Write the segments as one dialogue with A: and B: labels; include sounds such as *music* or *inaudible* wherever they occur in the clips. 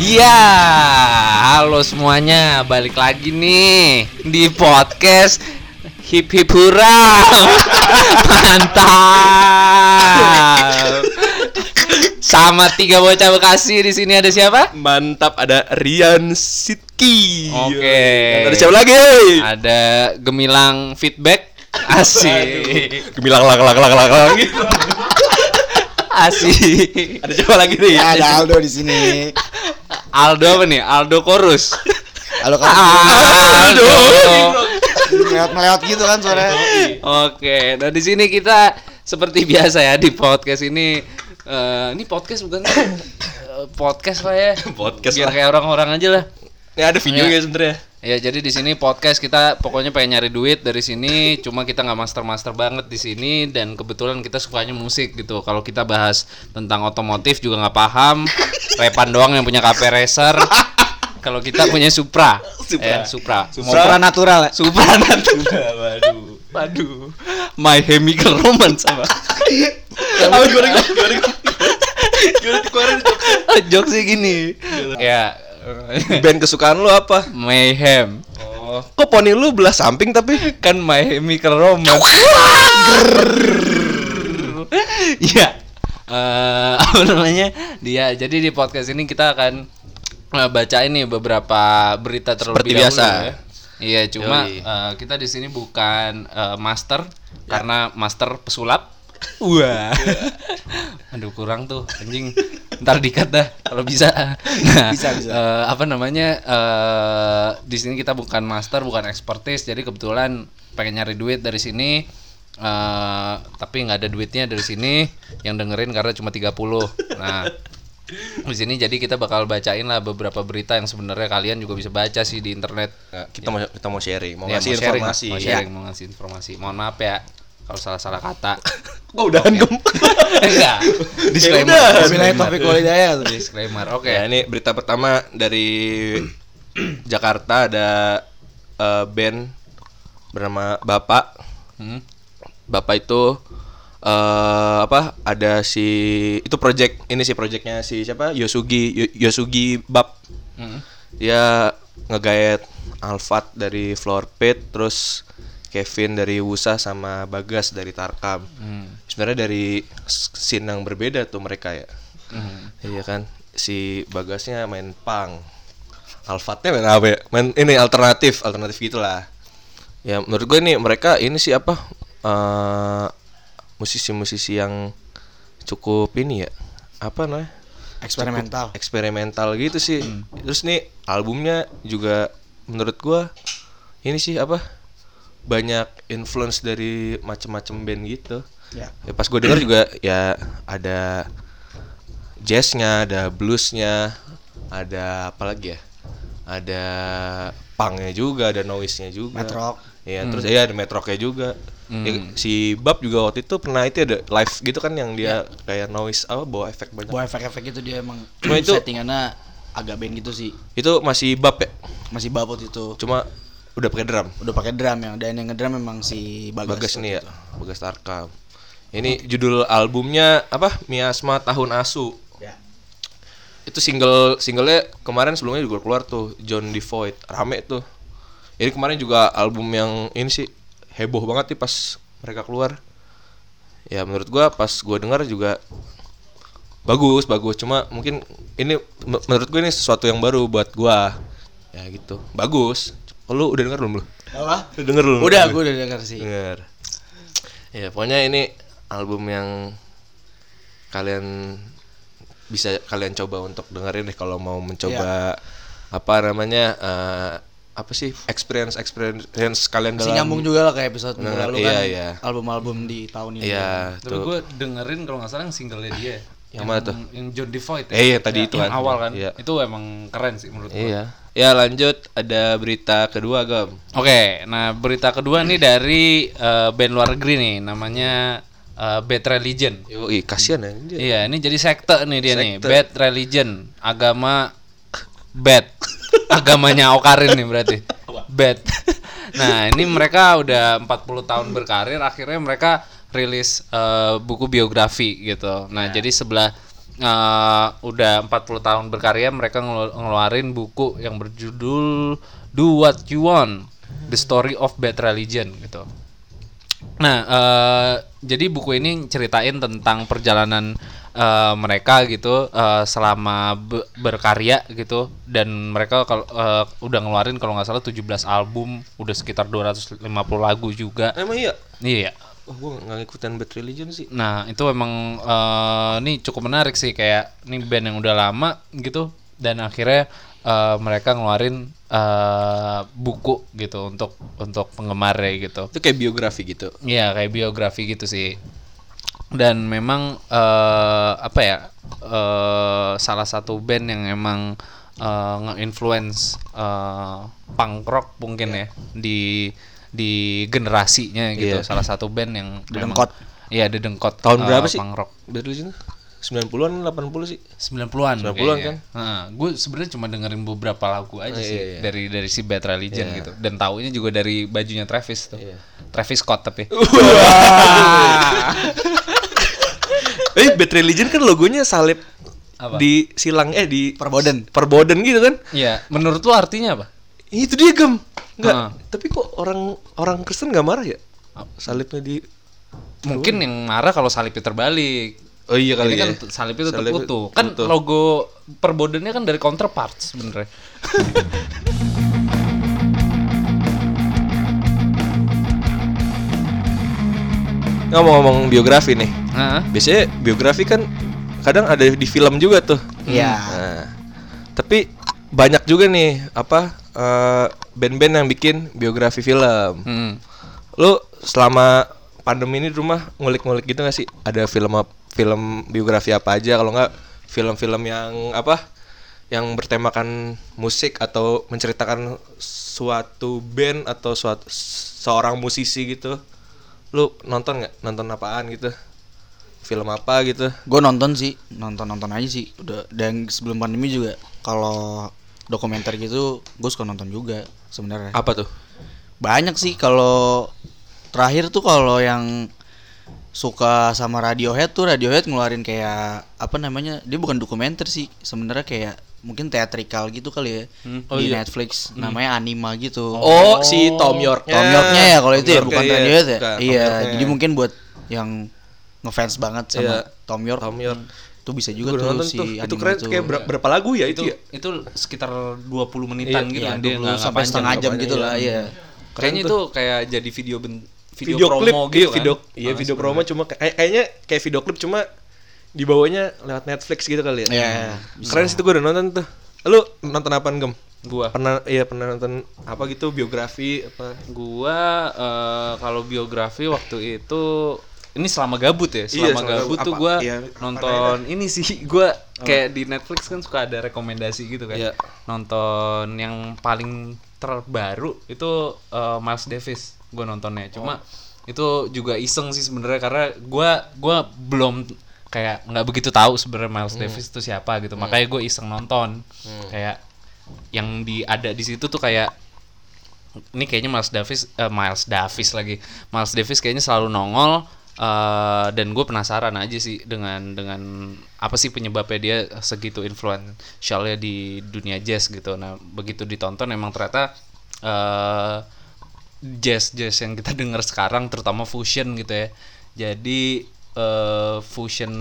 A: Iya, halo semuanya, balik lagi nih di podcast Hip Hip Hura. *laughs* Mantap. Sama tiga bocah Bekasi di sini ada siapa?
B: Mantap ada Rian Sitki.
A: Oke.
B: Ada siapa lagi? hei?
A: Ada Gemilang Feedback. Asik.
B: Gemilang lang lang lang lang lang.
A: Asik.
B: Ada siapa lagi nih?
C: Ya,
B: *laughs*
C: ada Aldo di sini.
A: Aldo apa nih? Aldo Chorus.
C: Halo kamu.
A: Aldo.
C: Melihat melihat gitu kan suaranya.
A: *laughs* Oke, nah di sini kita seperti biasa ya di podcast ini eh, ini podcast bukan sih? Eh, podcast lah ya.
B: *laughs* Podcast
A: Biar
B: lah.
A: kayak orang-orang aja lah.
B: Ini ada videonya sebenarnya.
A: Ya jadi di sini podcast kita pokoknya pengen nyari duit dari sini, cuma kita nggak master-master banget di sini dan kebetulan kita sukanya musik gitu. Kalau kita bahas tentang otomotif juga nggak paham, Repan doang yang punya KP
B: *laughs*
A: Racer. Kalau kita punya Supra,
B: Supra.
A: Eh, Supra,
C: Supranatural ya.
A: Supra nanti.
B: *laughs* Waduh.
A: Waduh, My Chemical Romance apa?
B: Apa gimana gimana gimana? Gimana tuh keluarin tuh?
A: Jokes sih gini. Ya, eh,
B: Band kesukaan lu apa?
A: Mayhem.
B: Oh. Kok poni lu belah samping tapi?
A: Kan My Chemical Romance. Ya. Eh, apa namanya? Dia jadi di podcast ini kita akan eh, baca ini beberapa berita terlebih
B: Seperti
A: dahulu
B: biasa.
A: ya. Iya, cuma
B: Yoi. Ya.
A: eh, kita di sini bukan eh, master karena master pesulap.
B: Wah.
A: Aduh kurang tuh anjing. Ntar dikat dah kalau bisa. Nah,
C: Bisa, bisa.
A: eh, apa namanya? eh di sini kita bukan master, bukan expertise, jadi kebetulan pengen nyari duit dari sini. eh tapi nggak ada duitnya dari sini yang dengerin karena cuma 30. Nah, di sini jadi kita bakal bacain lah beberapa berita yang sebenarnya kalian juga bisa baca sih di internet.
B: Kita mau kita mau sharing, mau
A: Ya,
B: ngasih
A: sharing,
B: informasi. Iya.
A: mau sharing, mau ngasih informasi. Mohon maaf ya kalau salah-salah kata.
B: Kok udahan gem? *laughs*
A: Enggak. Disclaimer.
B: Ya udah.
C: Bismillah Taufik Walidaya tuh.
A: Disclaimer. Oke.
B: Ya, ini berita pertama dari
A: *clears throat*
B: Jakarta ada eh, band bernama Bapak.
A: Hmm.
B: Bapak itu eh apa ada si itu project ini sih projectnya si siapa Yosugi Yo- Yosugi Bab
A: Hmm.
B: dia ngegaet Alfat dari Floor Pit terus Kevin dari Wusa sama Bagas dari Tarkam
A: Hmm.
B: sebenarnya dari s- scene yang berbeda tuh mereka ya iya kan si Bagasnya main pang Alfatnya main apa ya main ini alternatif alternatif gitulah ya menurut gue ini mereka ini sih apa eh, musisi-musisi yang cukup ini ya apa namanya
C: Eksperimental.
B: eksperimental gitu sih. Terus nih albumnya juga menurut gua ini sih apa? Banyak influence dari macem-macem band gitu.
C: Ya.
B: Ya, pas gue denger juga ya ada jazznya, ada bluesnya, ada apa lagi ya? Ada punknya juga, ada noise-nya juga.
C: Metrock.
B: Iya, terus ya ada metroknya juga. Ya, si Bab juga waktu itu pernah itu ada live gitu kan yang dia kayak noise apa bawa efek banyak.
C: Buat efek-efek itu dia emang
B: Cuma itu-
C: settingannya agak band gitu sih.
B: Itu masih Bab ya?
C: Masih babot itu.
B: cuma udah pakai drum
C: Udah pakai drum yang dan yang ngedrum memang si Bagas.
B: bagas ini ya bagas tarkam ini judul albumnya apa miasma tahun asu
C: Ya.
B: itu single singlenya kemarin sebelumnya juga keluar tuh John Devoid rame tuh ini kemarin juga album yang ini sih heboh banget nih pas mereka keluar ya menurut gua pas gua dengar juga bagus bagus cuma mungkin ini me- menurut gua ini sesuatu yang baru buat gua ya gitu bagus lu udah denger belum lu
C: Apa?
B: Lu denger belum
C: Udah, gue udah denger sih.
B: Dengar. Ya, pokoknya ini album yang kalian bisa kalian coba untuk dengerin deh kalau mau mencoba apa namanya eh, apa sih experience experience kalian
C: Masih
B: dalam
C: nyambung juga lah kayak episode minggu
B: Nah,
C: lalu
B: iya,
C: kan.
B: iya.
C: Album-album di tahun ini.
B: Iya,
A: Tapi
B: tuh.
A: gue dengerin kalau nggak salah yang single dia.
B: Yang mana tuh?
A: Yang John Devoid.
B: Eh, iya, tadi itu
A: yang
B: kan.
A: awal kan.
B: Iya.
A: Itu emang keren sih menurut gue.
B: Iya. Ya, lanjut ada berita kedua, Gam.
A: Oke, nah berita kedua nih dari eh, band luar negeri nih, namanya eh, Bad Religion.
B: Yoi, kasihan anjir.
A: Iya, ini jadi sekte nih dia nih.
B: Sekte.
A: Bad Religion, agama bad. Agamanya Okarin nih berarti. Bad. Nah, ini mereka udah 40 tahun berkarir, akhirnya mereka rilis eh, buku biografi gitu. Nah, jadi sebelah eh, udah 40 tahun berkarya mereka ngelu- ngeluarin buku yang berjudul Do What You Want: The Story of Bad Religion gitu. Nah, eh, jadi buku ini ceritain tentang perjalanan eh, mereka gitu eh, selama be- berkarya gitu dan mereka kalau eh, udah ngeluarin kalau nggak salah 17 album, udah sekitar 250 lagu juga.
B: Emang iya?
A: Iya.
B: Oh, gue gak ngikutin Bad Religion sih
A: Nah, itu emang eh, ini cukup menarik sih kayak ini band yang udah lama gitu dan akhirnya eh, mereka ngeluarin eh, buku gitu untuk untuk penggemarnya gitu.
B: Itu kayak biografi gitu
A: Iya kayak biografi gitu sih. Dan memang eh apa ya eh salah satu band yang emang eh, nge-influence eh, punk rock mungkin ya di di generasinya gitu.
B: Iya.
A: Salah satu band
B: *clears throat*
A: yang memang-
C: Dengkot.
A: Iya, The Dengkot.
B: Tahun
A: eh,
B: berapa sih?
A: Punk rock.
B: Bad Religion 90-an 80 sih
A: 90-an
B: 90-an
A: kayaknya.
B: kan?
A: Iya. Heeh, gue sebenarnya cuma dengerin beberapa lagu aja
B: Oh,
A: sih
B: iya, iya.
A: dari dari si Bad Religion gitu. Dan taunya juga dari bajunya Travis tuh.
B: Iya. Uh.
A: Travis Scott tapi.
B: Eh Bad Religion kan logonya salib
A: Apa?
B: Di silang eh di
C: Perboden.
B: perboden gitu kan
A: Iya, menurut lu artinya apa?
B: Itu dia gem Enggak
C: Ah.
A: Heeh.
B: Tapi kok orang orang Kristen gak marah ya? Salibnya di
A: Mungkin yang marah kalau salibnya terbalik.
B: Oh iya
A: Ini
B: kali
A: kan
B: ya
A: t- salib itu
B: Salib
A: terkutuk. Kan
B: utuh.
A: logo perbodennya kan dari counterpart sebenarnya.
B: Ngomong-ngomong biografi nih
A: Heeh.
B: Biasanya biografi kan kadang ada di film juga tuh
C: Iya.
B: Nah, tapi banyak juga nih apa eh, band-band yang bikin biografi film.
A: Hmm.
B: Lu selama pandemi ini di rumah ngulik-ngulik gitu gak sih? Ada film ap- film biografi apa aja kalau nggak film-film yang apa yang bertemakan musik atau menceritakan suatu band atau suatu seorang musisi gitu. Lu nonton nggak? Nonton apaan gitu? Film apa gitu?
C: Gue nonton sih, nonton-nonton aja sih. Udah dan sebelum pandemi juga kalau dokumenter gitu gue suka nonton juga sebenarnya.
B: Apa tuh?
C: Banyak sih kalau terakhir tuh kalau yang suka sama Radiohead tuh Radiohead ngeluarin kayak apa namanya? Dia bukan dokumenter sih, sebenarnya kayak mungkin teatrikal gitu kali ya
B: Hmm.
C: di Netflix namanya anima
B: iya.
C: gitu.
B: Oh, si Tom York.
C: Tom Yorknya ya kalau itu ya bukan
B: Yorknya,
C: Radiohead ya.
B: Bukan, Tom
C: iya,
B: Yorknya.
C: jadi mungkin buat yang ngefans banget sama
B: Iya.
C: Tom York.
B: Tom York.
C: Itu bisa
B: Gua
C: juga
B: udah
C: tuh
B: nonton
C: si
B: tuh. Itu
C: anime
B: keren
C: itu.
B: kayak ber- berapa lagu ya itu?
A: Itu itu sekitar 20 menitan
B: Iya,
A: gitu
C: Iya,
A: kan Iya. dia
C: 20
A: nggak- nggak
C: sampai
A: panjang,
C: setengah
A: nggak
C: jam
A: panjang.
C: gitu lah, iya.
A: Kayaknya itu kayak jadi video ben- video,
B: Video,
A: promo
B: klip
A: gitu
B: iya,
A: kan.
B: video iya video promo cuma kayak kayaknya kayak video klip cuma di bawahnya lewat Netflix gitu kali ya.
C: Iya,
B: Keren sih itu gue udah nonton tuh. Lu nonton apaan, Gem?
A: Gua
B: Pernah iya pernah nonton apa gitu biografi apa?
A: gua eh, kalau biografi waktu itu ini selama gabut ya selama
B: selama
A: gabut
B: gabut.
A: tuh
B: Apa-
A: gua
B: iya,
A: nonton ini sih *laughs* gua kayak di Netflix kan suka ada rekomendasi gitu kan
B: Iya.
A: nonton yang paling terbaru itu eh, Miles Davis gua nontonnya
B: Oh.
A: cuma itu juga iseng sih sebenarnya karena gua gua belum kayak nggak begitu tahu sebenarnya Miles
B: Hmm.
A: Davis itu siapa gitu makanya gue iseng nonton kayak yang di ada di situ tuh kayak ini kayaknya Miles Davis eh, Miles Davis lagi Miles Davis kayaknya selalu nongol eh, dan gue penasaran aja sih dengan dengan apa sih penyebabnya dia segitu influentialnya di dunia jazz gitu nah begitu ditonton emang ternyata eh, jazz jazz yang kita dengar sekarang terutama fusion gitu ya jadi eh, fusion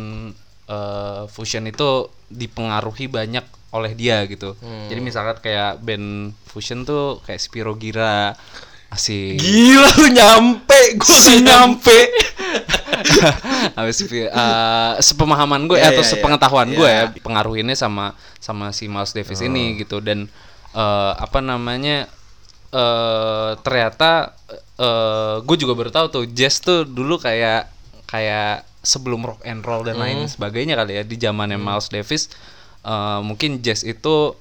A: eh, fusion itu dipengaruhi banyak oleh dia gitu jadi misalkan kayak band fusion tuh kayak Spiro Gira asik
B: Gila lu nyampe, gua si nyampe.
A: *laughs* habis itu, eh, sepemahaman gue
B: Iya,
A: atau
B: iya, iya.
A: sepengetahuan
B: Iya. Oh.
A: gue ya pengaruh ini sama sama si Miles Davis ini gitu dan eh, apa namanya eh ternyata gue juga baru tahu tuh jazz tuh dulu kayak kayak sebelum rock and roll dan lain
B: Hmm.
A: sebagainya kali ya di zamannya Miles Davis eh, mungkin jazz itu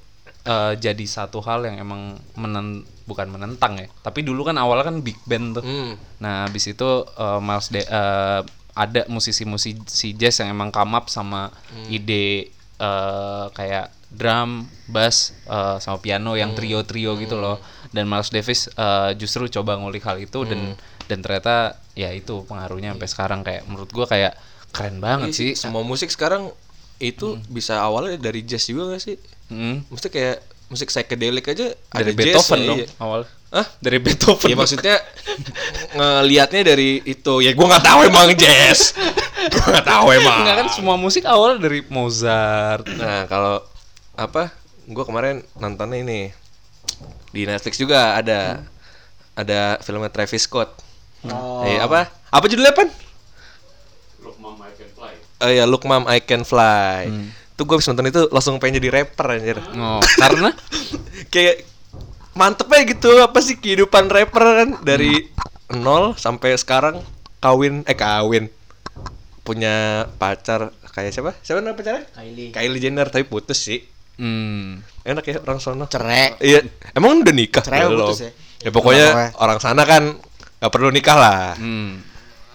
A: eh, jadi satu hal yang emang menen bukan menentang ya tapi dulu kan awalnya kan big band tuh
B: Hmm.
A: Nah, habis itu uh, Miles Da- uh, ada musisi-musisi jazz yang emang come up sama
B: Hmm.
A: ide uh, kayak drum, bass, uh, sama piano
B: Hmm.
A: yang trio-trio gitu loh. Dan Miles Davis uh, justru coba ngulik hal itu dan
B: Hmm.
A: dan ternyata
B: Iya.
A: ya itu pengaruhnya sampai sekarang kayak menurut gua kayak keren banget sih.
B: Semua musik sekarang itu bisa awalnya dari jazz juga gak sih?
A: Hmm.
B: Mesti kayak musik psychedelic aja
A: Dari
B: ada
A: Beethoven
B: jazz,
A: dong
B: Iya.
A: awal.
B: Hah?
A: Dari Beethoven.
B: Ya maksudnya ngelihatnya dari itu. Ya gua nggak tahu emang
A: *laughs*
B: jazz. gua nggak tahu emang.
A: Enggak kan semua musik awal dari Mozart.
B: Nah, kalau apa? Gua kemarin nontonnya ini di Netflix juga ada ada filmnya Travis Scott. Eh, apa? Apa judulnya, Pan? Look Mom I Can Fly. Oh iya, Look Mom I Can Fly. Tuh gue habis nonton itu langsung pengen jadi rapper anjir.
A: Oh, karena
B: Kayak mantep aja gitu apa sih kehidupan rapper kan dari nol sampai sekarang kawin eh kawin punya pacar kayak siapa? Siapa nama pacarnya?
C: Kylie.
B: Kylie Jenner tapi putus sih.
A: hmm.
B: Enak ya orang sono.
C: Cerek.
B: Iya, emang udah nikah
C: Cerai apa
B: belum?
C: putus ya?
B: Ya pokoknya
C: Kenapa ya?
B: orang sana kan nggak perlu nikah lah.
A: hmm.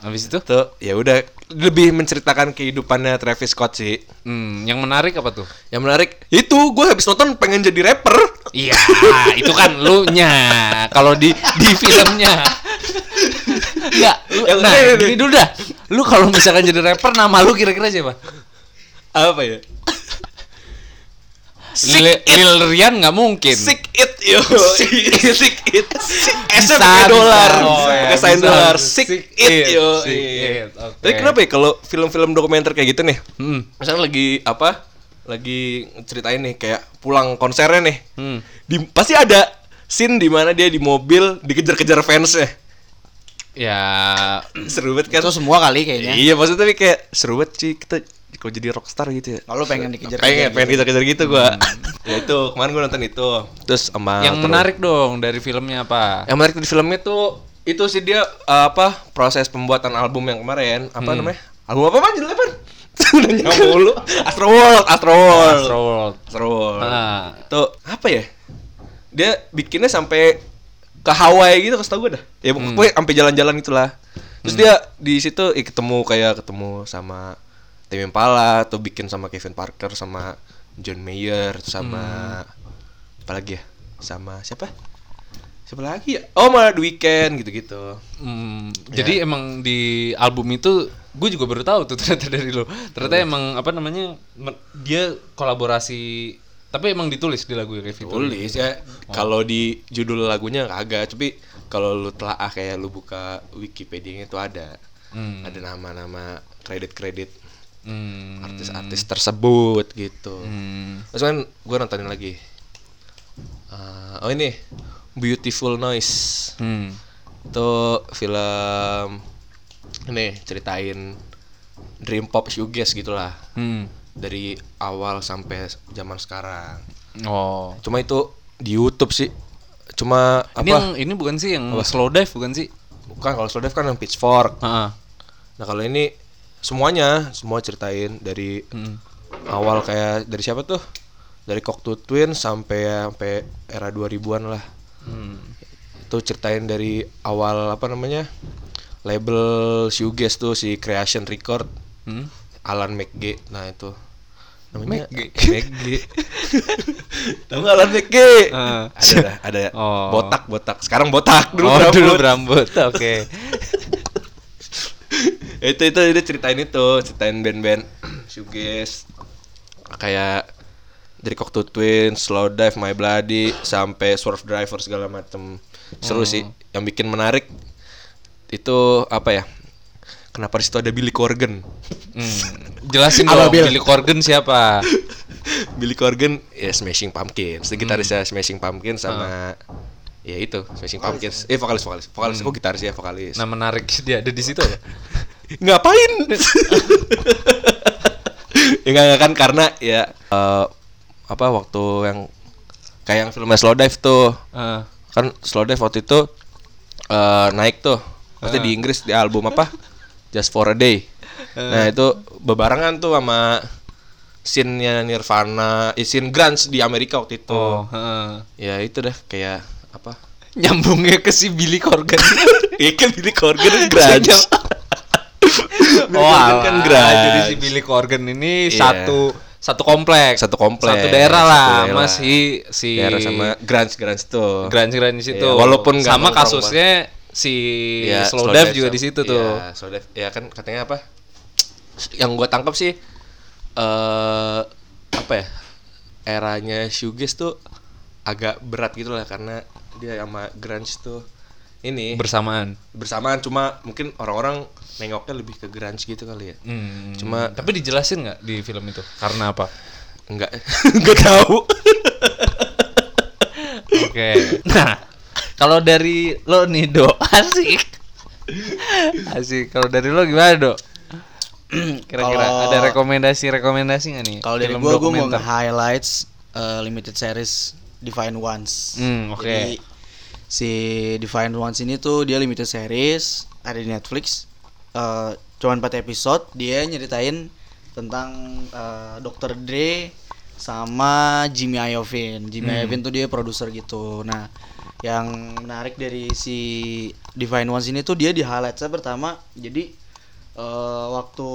A: Habis itu
B: Tuh, ya udah lebih menceritakan kehidupannya Travis Scott sih.
A: hmm. yang menarik apa tuh?
B: Yang menarik itu gue habis nonton pengen jadi rapper.
A: Iya, itu kan lu nya kalau di di filmnya. Enggak, lu,
B: Yang-
A: nah,
B: ini, ini.
A: gini dulu dah. Lu kalau misalkan jadi rapper nama lu kira-kira siapa?
B: Apa ya?
A: Lil, Lil Rian nggak mungkin.
B: Sick it
A: *laughs*
B: yo. Sick it. *laughs* Sick it.
A: Bisa,
B: SM
A: bisa.
B: dolar.
A: Oh, iya,
B: Pakai sign
A: bisa.
B: dolar. Sick
A: Sick it,
B: it yo.
A: sick
B: Iya.
A: it, oke.
B: Tapi kenapa ya kalau film-film dokumenter kayak gitu nih?
A: Hmm.
B: misalnya lagi apa lagi ceritain nih kayak pulang konsernya nih
A: Hmm.
B: di, pasti ada scene di mana dia di mobil dikejar-kejar fansnya
A: Ya,
B: seru banget kan
C: Itu semua kali kayaknya.
B: iya maksudnya tapi kayak seru banget sih kita kalau jadi rockstar gitu ya
C: Kalau pengen dikejar.
B: pengen pengen kejar-kejar gitu gua *laughs* ya itu kemarin gua nonton itu terus sama Ah.
A: yang
B: terus-
A: menarik dong dari filmnya apa?
B: yang menarik di filmnya tuh itu sih dia uh, apa proses pembuatan album yang kemarin apa namanya album apa *laughs* Pan? judulnya pan nanya Hmm. mulu Astro World Astro World
A: Astro World.
B: Astro World.
A: Ah.
B: itu apa ya dia bikinnya sampai ke Hawaii gitu kasih tau gue dah ya pokoknya sampai jalan-jalan gitulah terus dia di situ eh, ketemu kayak ketemu sama Tim Impala atau bikin sama Kevin Parker sama John Mayer terus sama apa lagi ya sama siapa siapa lagi ya oh malah The Weeknd gitu-gitu
A: Hmm, Jadi emang di album itu gue juga baru tahu tuh *laughs* ternyata dari lo. Ternyata emang apa namanya me- dia kolaborasi tapi emang ditulis di lagu Revito.
B: tulis ya kalau di judul lagunya kagak tapi kalau lu telaah kayak lu buka Wikipedia-nya itu ada
A: Hmm.
B: ada nama-nama kredit-kredit
A: Hmm.
B: artis-artis tersebut gitu
A: hmm.
B: terus kan gue nontonin lagi Eh, oh ini Beautiful Noise
A: Hmm.
B: itu film ini ceritain dream pop shoegaze gitulah
A: Hmm.
B: dari awal sampai zaman sekarang
A: Oh.
B: cuma itu di YouTube sih cuma
A: Ini
B: apa
A: yang ini bukan sih yang slow dive bukan sih?
B: bukan kalau slow dive kan yang pitchfork
A: Heeh.
B: nah kalau ini semuanya semua ceritain dari
A: Hmm.
B: awal kayak dari siapa tuh dari Cocteau Twin sampai sampai era 2000-an lah
A: Hmm.
B: itu ceritain dari awal apa namanya label shoegaze tuh si Creation Record
A: Hmm.
B: Alan McGee nah itu namanya McGee *laughs* tahu nggak Alan McGee
A: Ah.
B: ada dah, ada
A: Oh.
B: botak botak sekarang botak dulu
A: Oh,
B: berambut.
A: dulu berambut. *laughs* Oke.
B: itu itu dia ceritain itu ceritain band-band *clears throat* shoegaze kayak dari Cocteau Twin, Slow Dive, My Bloody sampai Swerve Driver segala macem seru sih yang bikin menarik itu apa ya kenapa di situ ada Billy Corgan *laughs*
A: Hmm. Jelasin
B: Apa,
A: dong
B: Bill?
A: Billy Corgan siapa?
B: Billy Corgan ya Smashing Pumpkins itu gitarisnya Smashing Pumpkins sama ya itu Smashing Pumpkins eh vokalis vokalis vokalis kok gitaris ya vokalis
A: Nah, menarik dia ada di situ ya? apa?
B: ngapain ya nggak nggak kan karena ya eh, apa waktu yang kayak yang filmnya slow dive tuh
A: Heeh.
B: kan slow dive waktu itu eh, naik tuh pasti di Inggris di album apa just for a day nah itu bebarengan tuh sama scene-nya Nirvana, eh, scene grunge di Amerika waktu itu.
A: Oh, heeh.
B: Ya itu dah kayak apa? *laughs* Ya,
A: Nyambungnya ke si Billy *laughs* Corgan.
B: Ikan Billy
A: *laughs*
B: Corgan grunge. Billy Corgan
A: alah.
B: kan grunge.
A: Jadi si Billy Corgan ini
B: Iya.
A: satu satu kompleks,
B: Satu
A: satu
B: kompleks,
A: daerah
B: satu
A: lah,
B: daerah.
A: sama si si
B: Daerah sama grunge grunge tuh.
A: grunge grunge di situ.
B: Iya, walaupun nggak
A: sama
B: nongkrong
A: kasusnya si
B: Ya,
A: Slow Dive juga
B: sama-
A: di situ
B: iya,
A: tuh.
B: slow dive. Ya kan katanya apa? Yang gua tangkap sih eh apa ya eranya shoegaze tuh agak berat gitu lah karena dia sama grunge tuh ini
A: bersamaan.
B: bersamaan cuma mungkin orang-orang nengoknya lebih ke grunge gitu kali ya
A: Hmm.
B: Cuma-
A: tapi dijelasin nggak di film itu? Karena apa? *laughs*
B: enggak enggak tahu
A: Oke. Nah, kalau dari lo nih, Do, asik. Asik. Kalau dari lo gimana, Do? Kira-kira
C: Kalau-
A: ada rekomendasi-rekomendasi nggak nih?
C: Kalau dari
A: Iya, Film
C: gua, gua mau
A: dokumenter.
C: highlights limited series Divine Ones.
A: Hmm, oke.
C: Jadi, si Divine Ones ini tuh dia limited series ada di Netflix. Eh, cuman 4 episode, dia nyeritain tentang eh, Dr. Dre sama Jimmy Iovine.
A: Hmm.
C: Jimmy Iovine tuh dia produser gitu. Nah, yang menarik dari si Divine Ones ini tuh dia di highlightsnya pertama. Jadi eh, waktu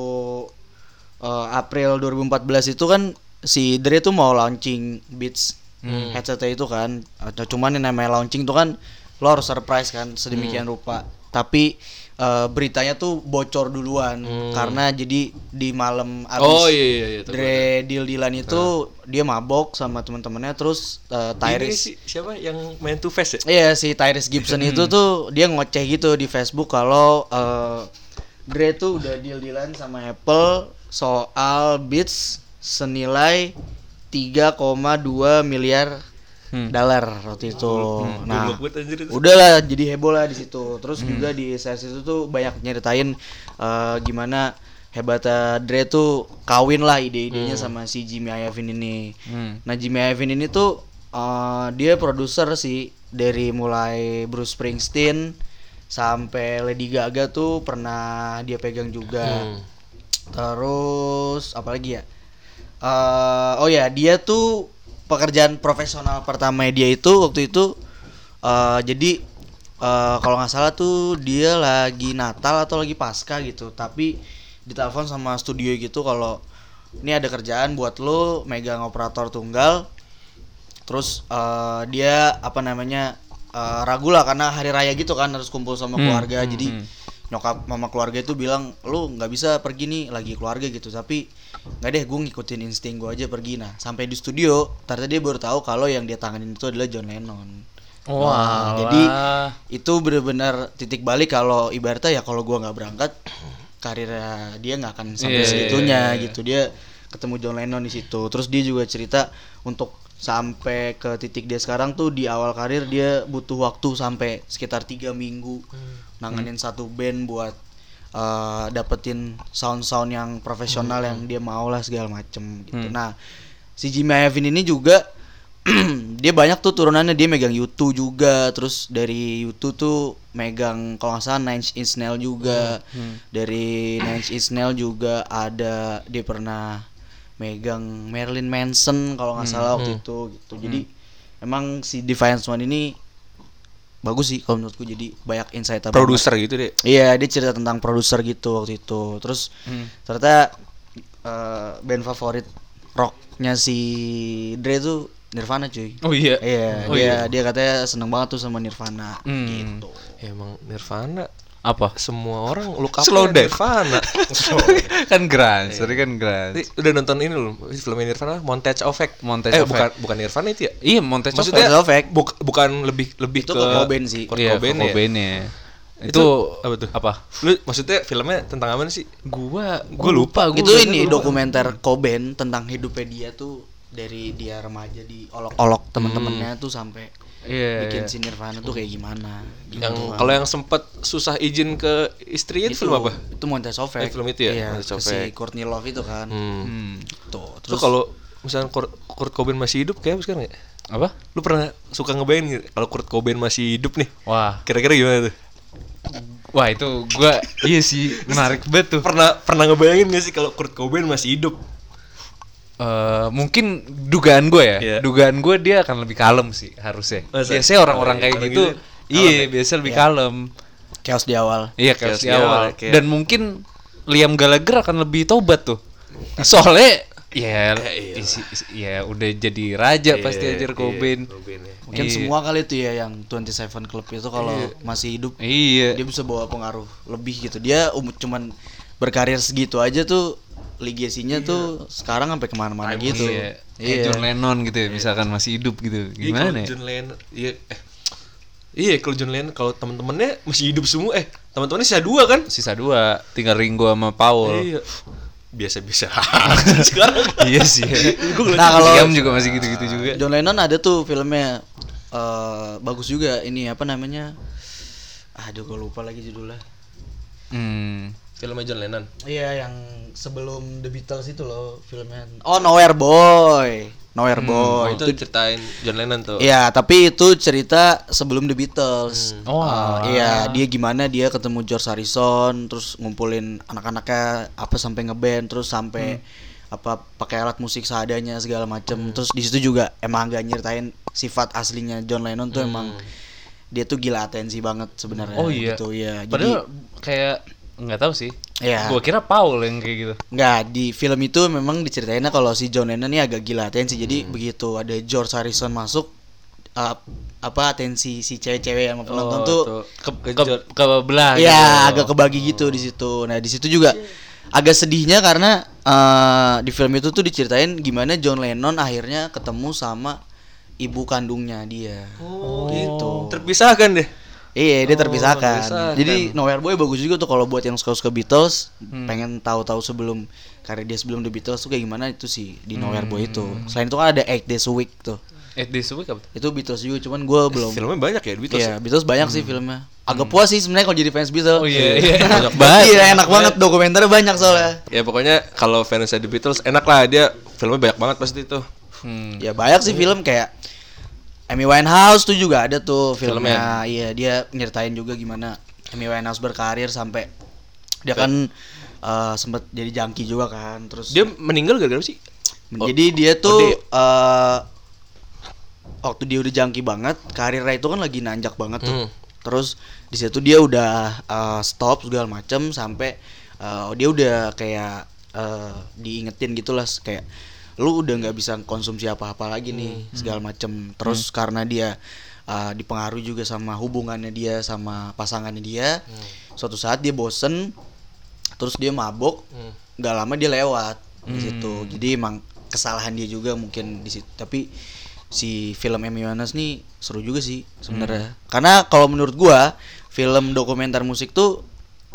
C: eh, April 2014 itu kan si Dre tuh mau launching Beats
B: Hmm.
C: headsetnya itu kan Eh, cuman yang namanya launching tuh kan lo harus surprise kan sedemikian
B: Hmm.
C: rupa tapi eh, beritanya tuh bocor duluan karena jadi di malam abis
B: Hmm. oh iya iya iya tahu.
C: Dre deal dealan itu dia mabok sama teman-temannya terus
B: ini
C: eh, Tyrese
B: si, siapa yang main Two Face ya
C: Iya si Tyrese Gibson itu
B: Mm-hmm.
C: tuh dia ngoceh gitu di Facebook kalau eh, Dre tuh udah deal-dealan sama Apple soal Beats senilai 3,2 miliar dolar waktu itu. Nah,
B: Hmm. Goblok banget anjir itu. Hmm.
C: udahlah jadi heboh lah di situ. Terus juga di series itu tuh banyak nyeritain eh, gimana hebatnya Dre tuh kawin lah ide-idenya
B: Hmm.
C: sama si Jimmy Iovine ini.
A: Hmm.
C: Nah Jimmy Iovine ini tuh eh, dia produser sih dari mulai Bruce Springsteen sampai Lady Gaga tuh pernah dia pegang juga. Terus apalagi ya? Eh, oh ya dia tuh pekerjaan profesional pertama dia itu waktu itu eh, jadi eh, kalau nggak salah tuh dia lagi Natal atau lagi Pasca gitu tapi ditelepon sama studio gitu kalau ini ada kerjaan buat lo megang operator tunggal terus eh, dia apa namanya eh, ragu lah karena hari raya gitu kan harus kumpul sama keluarga jadi nyokap mama keluarga itu bilang lu nggak bisa pergi nih lagi keluarga gitu tapi nggak deh gue ngikutin insting gue aja pergi nah sampai di studio ternyata dia baru tahu kalau yang dia tanganin itu adalah John Lennon
A: Wah,
C: jadi itu benar-benar titik balik kalau ibaratnya ya kalau gua nggak berangkat karirnya dia nggak akan
A: Iya,
C: sampai
A: iya,
C: segitunya
A: iya, iya.
C: gitu dia ketemu John Lennon di situ terus dia juga cerita untuk sampai ke titik dia sekarang tuh di awal karir dia butuh waktu sampai sekitar tiga minggu
A: Hmm.
C: nanganin satu band buat eh, dapetin sound-sound yang profesional
A: Hmm.
C: yang dia mau lah segala macem gitu nah si Jimmy Iovine ini juga *clears throat* dia banyak tuh turunannya dia megang YouTube juga terus dari YouTube tuh megang kalau nggak salah Nine Inch Nails juga dari Nine Inch Nails juga ada dia pernah megang Marilyn Manson kalau nggak salah waktu itu gitu jadi emang si Defiance One ini bagus sih kalau menurutku jadi banyak insight apa-
B: produser gitu deh
C: Iya, dia cerita tentang produser gitu waktu itu. Terus ternyata eh, band favorit rocknya si Dre tuh Nirvana cuy.
A: Oh iya. Hmm.
C: Iya,
A: Oh
C: dia dia katanya seneng banget tuh sama Nirvana gitu.
B: ya, emang Nirvana
A: Apa?
B: semua orang look up
A: Slow down.
B: *laughs* Nirvana
A: *laughs* kan grunge, tadi kan grunge.
B: Jadi, udah nonton ini loh film Nirvana Montage of Heck
A: Montage
B: eh,
A: of
B: bukan bukan Nirvana itu ya
A: Iya, Montage of
B: maksudnya
C: Montage of Heck.
B: buk- bukan lebih lebih
C: Itu
B: ke
C: Kurt Cobain sih.
B: Kurt
A: Iya,
B: Cobain ya?
A: Cobain-nya. Itu,
B: apa tuh?
A: Apa?
B: lu maksudnya filmnya tentang apa sih
A: Gua
B: Gua lupa,
A: gua
C: itu
A: udah-
C: ini dokumenter Coben tentang hidupnya dia tuh dari dia remaja di olok-olok temen-temennya tuh sampai
A: Iya,
C: bikin
A: iya.
C: si Nirvana tuh kayak gimana. Gitu.
B: yang kalau yang sempat susah izin ke istrinya itu, film apa
C: Itu Montage of
B: Eh,
C: Heck.
B: film itu ya,
C: Iya,
B: Montage of
C: si
B: Heck.
C: Courtney Love itu kan.
B: hmm.
C: Tuh,
B: Terus kalau misalnya Kurt, Kurt Cobain masih hidup kayak sekarang ya?
A: Apa?
B: Lu pernah suka ngebayangin nggak kalau Kurt Cobain masih hidup nih?
A: Wah.
B: Kira-kira gimana tuh?
A: Wah, itu gua iya sih, menarik banget tuh.
B: Pernah pernah ngebayangin gak sih kalau Kurt Cobain masih hidup?
A: Eh, mungkin dugaan gue ya,
B: Iya.
A: dugaan gue dia akan lebih kalem sih harusnya.
B: Masa?
A: Biasanya orang-orang
B: Orang
A: kayak
B: gitu
A: gitu,
B: kalem
A: iya biasa lebih kalem.
C: chaos di awal.
A: Iya kayak
B: Chaos
A: di
B: di awal,
A: awal.
B: kayak-
A: Dan mungkin Liam Gallagher akan lebih tobat tuh. Soalnya ya
B: *laughs*
A: isi- isi- ya udah jadi raja pasti
B: Iya,
A: ajar
B: iya,
A: Cobain.
B: Cobain ya.
C: Mungkin
A: Iya.
C: semua kali itu ya yang 27 Club itu kalau masih hidup
A: Iya.
C: dia bisa bawa pengaruh lebih gitu. Dia um, cuman berkarir segitu aja tuh legasinya tuh sekarang sampai kemana-mana gitu.
A: Iya. Kayak
C: Iya.
A: John Lennon gitu ya, misalkan masih hidup gitu.
B: Iya, kalau
A: Gimana ya?
B: John Lennon, iya, eh, iya kalau John Lennon kalau teman-temannya masih hidup semua, eh teman-temannya sisa dua kan?
A: Sisa dua, tinggal Ringo sama Paul.
B: Iya, biasa-biasa *laughs* aja sekarang.
A: Iya sih.
B: *laughs*
C: Nah, kalau-
A: Liam juga masih gitu-gitu juga.
C: John Lennon ada tuh filmnya eh, bagus juga ini apa namanya? Aduh, gue lupa lagi judulnya.
B: Ah.
A: Hmm.
B: Filmnya John Lennon.
C: Iya, yang sebelum The Beatles itu loh filmnya. Oh, Nowhere Boy. Nowhere
A: Hmm.
B: Oh,
C: Boy.
B: itu ceritain John Lennon tuh.
C: Iya, tapi itu cerita sebelum The Beatles.
A: Oh,
C: Uh, iya, dia gimana dia ketemu George Harrison, terus ngumpulin anak-anaknya apa sampai ngeband, terus sampai
A: Hmm.
C: apa pakai alat musik seadanya segala macem. Terus di situ juga emang agak nyeritain sifat aslinya John Lennon tuh emang dia tuh gila atensi banget sebenarnya.
A: Hmm. Oh iya.
C: Gitu, iya. Jadi
A: Padahal kayak nggak tahu sih.
C: Iya.
A: Gua kira Paul yang kayak gitu.
C: nggak di film itu memang diceritainnya kalau si John Lennon ini agak gila atensi. Jadi
A: Hmm.
C: begitu ada George Harrison masuk uh, apa atensi si cewek-cewek yang
A: Oh,
C: penonton tuh
A: Ke ke, ke belah
C: Iya, agak kebagi gitu di situ. Nah, di situ juga agak sedihnya karena eh, di film itu tuh diceritain gimana John Lennon akhirnya ketemu sama ibu kandungnya dia.
B: Oh,
C: gitu.
B: Terpisahkan deh.
C: Iya, dia terpisahkan.
B: terpisahkan.
C: Jadi Nowhere Boy bagus juga tuh kalau buat yang suka-suka Beatles, pengen tahu-tahu sebelum karir dia sebelum The Beatles tuh kayak gimana itu sih di Nowhere Boy itu. Selain itu kan ada Eight Days a Week tuh.
A: Eh, di sebuah apa? tuh?
C: Itu Beatles juga, cuman gue belum.
B: Filmnya banyak ya, Beatles.
C: Iya, Beatles banyak sih filmnya. Agak puas sih sebenarnya kalau jadi fans Beatles.
A: Oh iya,
C: *laughs*
A: iya.
B: Banyak
C: banget. Iya, enak banget dokumenternya banyak soalnya.
B: Ya pokoknya kalau fans The Beatles enak lah dia filmnya banyak banget pasti itu.
A: Hmm.
C: Ya banyak sih film kayak Amy Winehouse tuh juga ada tuh filmnya. Iya, dia nyeritain juga gimana Amy Winehouse berkarir sampai dia kan eh, sempet jadi jangki juga kan. Terus
B: Dia meninggal gara-gara apa sih?
C: jadi dia tuh eh, waktu dia udah jangki banget, karirnya itu kan lagi nanjak banget tuh.
B: Hmm.
C: Terus di situ dia udah eh, stop segala macem sampai eh, dia udah kayak eh, diingetin gitulah kayak lu udah nggak bisa konsumsi apa-apa lagi nih segala macem. Terus karena dia eh, dipengaruhi juga sama hubungannya dia sama pasangannya dia, suatu saat dia bosen, terus dia mabok, nggak lama dia lewat
A: Hmm.
C: di situ. Jadi emang kesalahan dia juga mungkin di situ. Tapi si film Amy Winehouse nih seru juga sih sebenarnya.
A: Hmm.
C: Karena kalau menurut gua film dokumenter musik tuh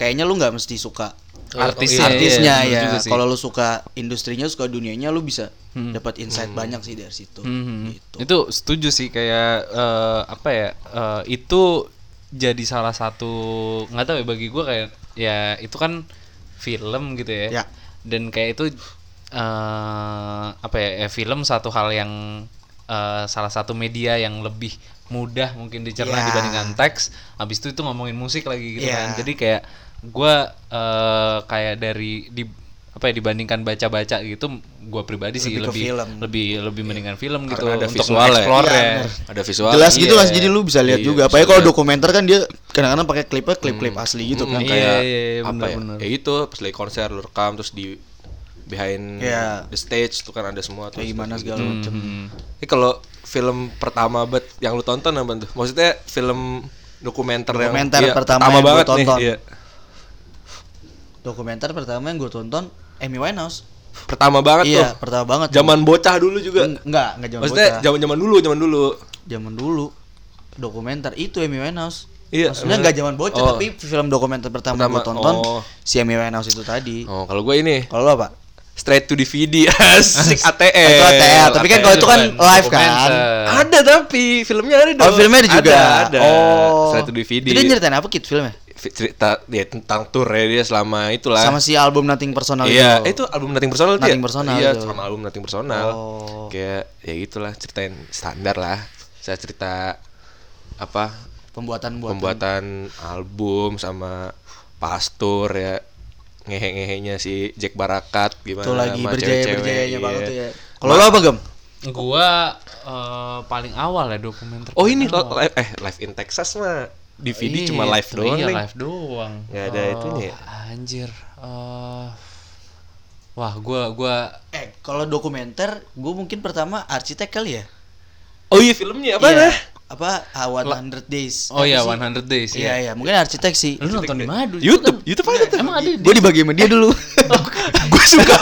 C: kayaknya lu nggak mesti suka
A: Artisnya,
C: artisnya
A: iya, iya, bener
C: ya.
A: juga sih. Hmm.
C: Kalau lu suka industrinya, suka dunianya, lu bisa dapat insight banyak sih dari situ.
A: Mhm.
C: Gitu.
A: Itu setuju sih kayak eh, apa ya? eh, itu jadi salah satu nggak tahu ya bagi gua kayak ya itu kan film gitu ya.
C: Ya.
A: Dan kayak itu eh apa ya? ya, Film satu hal yang eh, salah satu media yang lebih mudah mungkin dicerna
C: Ya.
A: dibandingkan teks. Habis itu itu ngomongin musik lagi gitu kan.
C: Ya.
A: Jadi kayak gua eh, kayak dari di apa ya dibandingkan baca-baca gitu gua pribadi sih
C: Lebih ke
A: lebih
C: film.
A: lebih lebih mendingan film gitu
B: Karena ada
A: untuk
B: visualnya.
A: mengeksplor
C: Iya,
A: ya.
C: bener.
B: Ada visual.
C: Jelas gitu
A: iya.
C: mas, jadi lu bisa lihat
B: Iya,
C: juga.
B: bisa
C: Apalagi kalau
B: lihat.
C: dokumenter kan dia kadang-kadang pakai klipnya klip-klip asli gitu
B: Hmm,
C: kan.
A: Iya,
B: kayak
A: iya, iya,
B: apa
A: bener,
B: ya?
A: bener.
B: Ya itu pas lagi konser lu rekam terus di behind
C: Iya.
B: the stage itu kan ada semua tuh.
C: Kayak gimana segala macam.
A: Hmm.
B: Ini kalau film pertama bet yang lu tonton apa tuh? Maksudnya film dokumenter,
C: Dokumenter
B: yang iya,
C: pertama yang gua
B: banget nih.
C: tonton.
B: Iya.
C: Dokumenter pertama yang gue tonton Amy Winehouse.
B: Pertama banget
C: iya,
B: tuh.
C: pertama banget.
B: Zaman bocah dulu juga.
C: Eng- enggak, enggak zaman
B: Maksudnya
C: bocah.
B: zaman-zaman dulu, zaman dulu.
C: Zaman dulu dokumenter itu Amy Winehouse.
B: Iya,
C: Maksudnya
B: bener.
C: enggak zaman bocah,
B: Oh.
C: tapi film dokumenter pertama,
B: Pertama,
C: gue tonton
B: oh.
C: si Amy Winehouse itu tadi.
B: Oh, kalau gue ini
C: Kalau lo apa?
B: straight to DVD *laughs* asik ATL.
C: Itu ATL, tapi kan kalau itu kan
A: bukan
C: live kan.
A: dokumenter.
B: ada tapi filmnya ada dong.
C: Oh, filmnya ada juga.
B: Ada, ada.
C: Oh.
B: Straight to DVD.
C: Itu dia nyeritain apa Kit filmnya?
B: Fi- cerita dia tentang tour ya dia selama itulah.
C: Sama si album Nothing Personal
B: iya, eh,
C: itu.
B: itu album Nothing Personal tuh ya?
C: Nothing Personal
B: Iya,
C: itu.
B: sama album Nothing Personal.
C: Oh.
B: Kayak ya gitulah ceritain standar lah. Saya cerita apa
C: Pembuatan buat
B: pembuatan album sama pastur ya ngehe-ngehenya si Jack Barakat gimana
C: itu lagi
B: sama
C: berjaya-berjayanya
B: cewek-cewek,
C: banget
B: iya.
C: tuh ya. Kalau lo apa, Gem?
A: Gua eh, paling awal ya dokumenter.
B: Oh ini
A: pertama.
B: live eh live in Texas mah DVD cuma
A: Iya,
B: live
A: itu
B: doang
A: Iya,
B: nih.
A: live doang.
B: Nggak ada
A: Eh,
B: itunya ya?
A: Anjir. Eh, wah, gua gua
C: Eh, kalau dokumenter, gue mungkin pertama arsitek kali ya.
B: Oh iya filmnya apa
C: Iya.
B: ya?
C: apa Ah, 100 days.
A: Oh iya,
C: Apa sih?
A: 100 days.
C: Iya iya, mungkin arsitek sih.
B: Hmm?
A: Lu nonton di mana? dulu?
B: YouTube, YouTube ada tuh.
A: Emang ada di
C: Gue dibagi sama dia dulu.
B: Gue suka.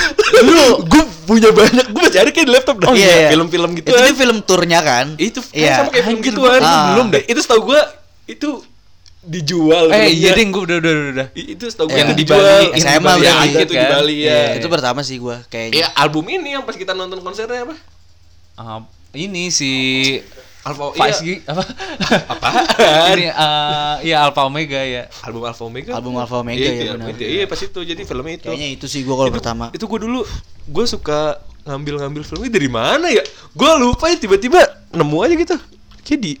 B: *laughs*
C: Lu gue punya banyak.
B: Gue masih ada kayak di laptop dah. *laughs*
C: Oh, iya, iya.
B: Film-film gitu.
C: Itu dia film turnya kan?
B: Itu kan Ah.
C: Iya.
B: sama kayak film
A: Anjir,
B: gituan.
C: gua-
B: Belum deh. Itu setahu gue itu dijual.
A: Eh, iya
B: filmnya.
A: ding, gua udah udah udah. udah.
B: I- Itu setahu gue
C: Iya.
B: itu
A: Di
B: dijual.
A: Bali,
B: Itu
C: SMA
B: di Bali,
C: udah
B: ya,
C: gitu
B: Itu di
A: kan.
B: Bali ya.
A: Iya.
C: Itu pertama sih gue kayaknya.
B: Ya album ini yang pas kita nonton konsernya apa?
A: Ah, ini si
B: Alpha
A: Vice
B: iya.
A: Gi- apa?
B: Apaan?
A: *laughs* ini eh iya Alpha Omega ya.
B: Album Alpha Omega.
C: Album Alpha Omega
B: Iya,
C: ya,
B: itu,
C: benar.
B: itu. Iya pas itu jadi filmnya itu.
C: Kayaknya itu sih gue kalau pertama.
B: Itu gue dulu gue suka ngambil-ngambil filmnya dari mana ya? Gue lupa ya tiba-tiba nemu aja gitu. Kayak di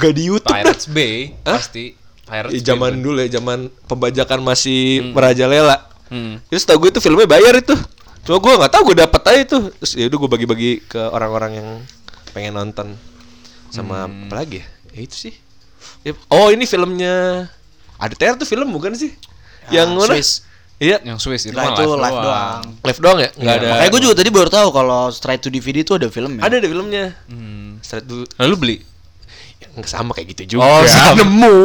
B: gak di YouTube. dah.
A: Pirates Bay
B: Hah?
A: pasti. Pirates
B: Ya, zaman
A: Bay.
B: dulu ya, zaman pembajakan masih merajalela.
A: Hmm.
B: Itu setahu gue itu filmnya bayar itu. Cuma gue nggak tahu gue dapat aja itu. Terus ya udah gue bagi-bagi ke orang-orang yang pengen nonton. Sama
C: Hmm.
B: apa lagi ya? Ya itu sih. Ya, oh ini filmnya ADTR tuh film bukan sih?
C: Ah,
B: yang mana?
C: Swiss.
B: Iya.
A: Yang Swiss itu mah
C: Nah, itu
A: live,
C: live
A: doang.
C: doang.
B: Live doang ya? Nggak ada.
C: Iya, Makanya gue juga tadi baru tahu kalau straight to DVD itu ada film ya.
B: Ada deh filmnya.
A: Hmm.
B: Straight to
A: Lalu beli.
B: Ya, nggak sama kayak gitu
A: Oh,
B: *laughs* juga. nemu.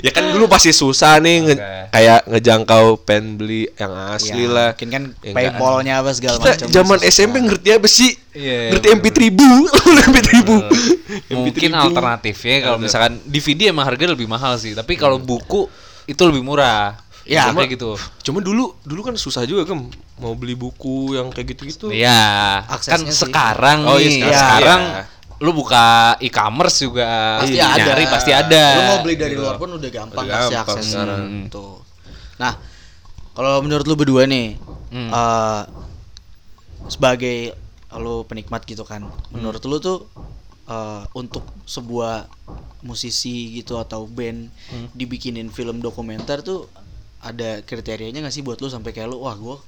B: ya kan dulu pasti susah nih nge-
A: Oke.
B: kayak ngejangkau pengen beli yang asli
C: Ya,
B: lah.
C: Mungkin kan
B: Ya,
C: Paypalnya apa segala
B: kita
C: macam.
B: zaman
C: Terus-
B: SMP ngerti apa sih?
A: Iya,
B: ngerti MP *laughs* 3000, MP 3000.
A: Mungkin alternatifnya kalau misalkan DVD emang harga lebih mahal sih, tapi kalau
C: Iya.
A: buku itu lebih murah.
C: Ya,
A: Misalnya kayak gitu.
B: Cuma dulu dulu kan susah juga kan mau beli buku yang kayak gitu-gitu.
A: Iya, kan
C: Aksesnya sih.
A: sekarang
B: Oh, iya,
A: nih,
B: sekarang.
A: sekarang
B: Iya.
A: lu buka e-commerce juga
C: pasti
A: Iya, nyari,
C: ada.
A: pasti ada. Hmm.
C: Lu mau beli dari luar pun udah gampang
B: Udah
C: pasti
B: gampang
C: aksesnya.
B: sekarang.
C: Tuh. Nah, kalau menurut lu berdua nih,
A: Hmm.
C: eh, sebagai lu penikmat gitu kan,
A: Hmm.
C: menurut lu tuh eh, untuk sebuah musisi gitu atau band
A: Hmm.
C: dibikinin film dokumenter tuh ada kriterianya gak sih buat lu sampai kayak lu wah gua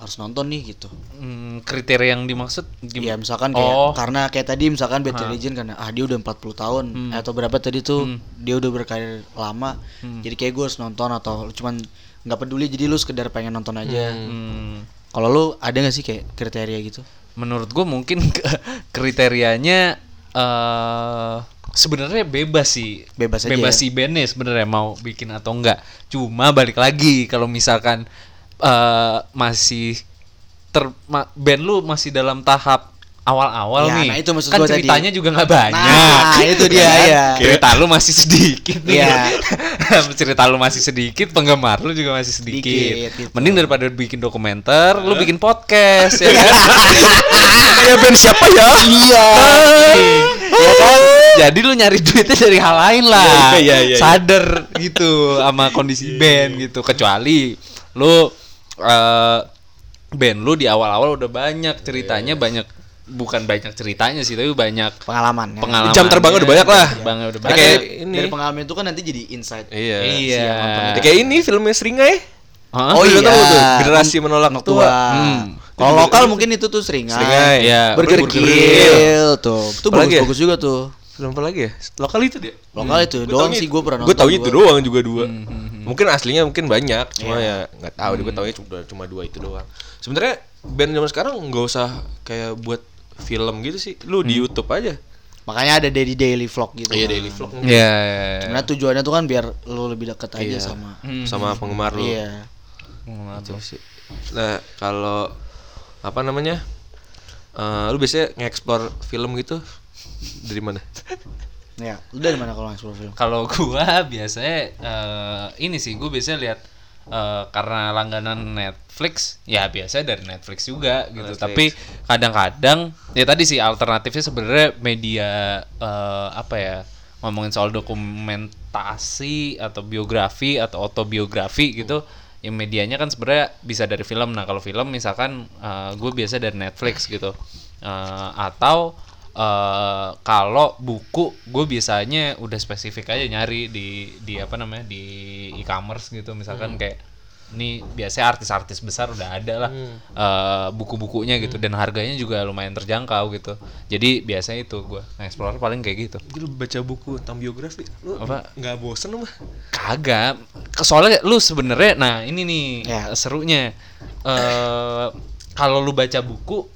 C: harus nonton nih gitu.
A: Hmm, kriteria yang dimaksud gimana?
C: Iya misalkan kayak
A: Oh.
C: karena kayak tadi misalkan Bad Religion karena ah dia udah 40 tahun
A: Hmm.
C: atau berapa tadi tuh dia udah berkarir lama
A: Hmm.
C: jadi kayak gue harus nonton atau lu cuman nggak peduli jadi lu sekedar pengen nonton aja
A: Hmm,
C: kalau lu ada nggak sih kayak kriteria gitu
A: menurut gue mungkin *laughs* ke- kriterianya eh sebenarnya bebas sih
C: Bebas aja
A: bebas
C: ya?
A: si bandnya sebenarnya mau bikin atau enggak cuma balik lagi kalau misalkan eh masih ter ma- band lu masih dalam tahap awal-awal
C: Ya,
A: nih
C: nah itu maksud
A: kan
C: gua tadi.
A: ceritanya juga nggak banyak
C: Nah, itu dia,
A: *laughs* Kan?
C: ya.
A: cerita lu masih sedikit nih
C: Iya.
A: *laughs* cerita lu masih sedikit penggemar lu juga masih sedikit,
C: Sedikit, gitu.
A: mending daripada bikin dokumenter lu bikin podcast ya kan?
B: *laughs* Kayak band Iya. siapa ya? Iya.
A: ya kan? Jadi lu nyari duitnya dari hal lain lah.
B: Iya, iya, iya, iya.
A: Sadar gitu sama kondisi band gitu. Kecuali lu eh, band lu di awal-awal udah banyak ceritanya
B: Iya.
A: banyak bukan banyak ceritanya sih tapi banyak
C: pengalaman ya.
A: pengalaman.
B: Jam terbangnya udah banyak lah.
A: Terbangnya udah
C: Karena
A: banyak.
B: Kayak
C: dari,
B: ini.
C: dari pengalaman itu kan nanti jadi insight
B: Iya.
A: Iya.
B: Ya, Kayak ini filmnya Seringai.
A: Hah?
B: Oh, iya. tahu tuh,
C: Anak-
B: generasi menolak
C: anak
B: tua.
A: Hmm.
C: kalau lokal mungkin itu tuh seringai,
B: Seringai.
A: Iya.
B: Burger
C: Burger Kill tuh itu
B: Apalagi ya?
C: bagus bagus juga tuh
B: Film apa lagi ya? Lokal itu dia.
C: lokal
A: Hmm.
C: itu doang sih gue pernah nonton
B: Gue tau itu
C: gua.
B: doang juga dua. Mungkin aslinya mungkin banyak, cuma ya nggak tahu. deh Gue taunya cuma cuma dua itu doang. Sebenarnya band zaman sekarang nggak usah kayak buat film gitu sih. Lu di YouTube aja.
C: makanya ada dari daily vlog gitu
B: Iya
C: kan.
B: daily vlog mungkin.
A: Oh, Iya.
C: Sebenarnya tujuannya tuh kan biar lu lebih dekat aja sama.
B: sama penggemar lu.
C: Iya.
B: Itu sih. Nah kalau apa namanya? Eh, lu biasanya nge-explore film gitu dari *laughs* mana?
C: Ya, lu dari mana kalau nge-explore film?
A: Kalau gua *laughs* biasanya eh, ini sih gua biasanya lihat eh, karena langganan Netflix, ya biasanya dari Netflix juga gitu.
B: Netflix.
A: Tapi kadang-kadang ya tadi sih alternatifnya sebenarnya media eh, apa ya ngomongin soal dokumentasi atau biografi atau autobiografi gitu. Ya medianya kan sebenarnya bisa dari film. Nah kalau film misalkan gue biasa dari Netflix gitu. Eh, atau eh, kalau buku gue biasanya udah spesifik aja nyari di di apa namanya di e-commerce gitu misalkan kayak ini biasanya artis-artis besar udah ada lah eh, buku-bukunya gitu dan harganya juga lumayan terjangkau gitu jadi biasanya itu gue explore paling kayak gitu
B: Jadi lu baca buku tentang biografi, lu
A: Apa?
B: nggak bosen lu mah?
A: kagak soalnya lu sebenarnya nah ini nih
C: Ya.
A: serunya eh kalau lu baca buku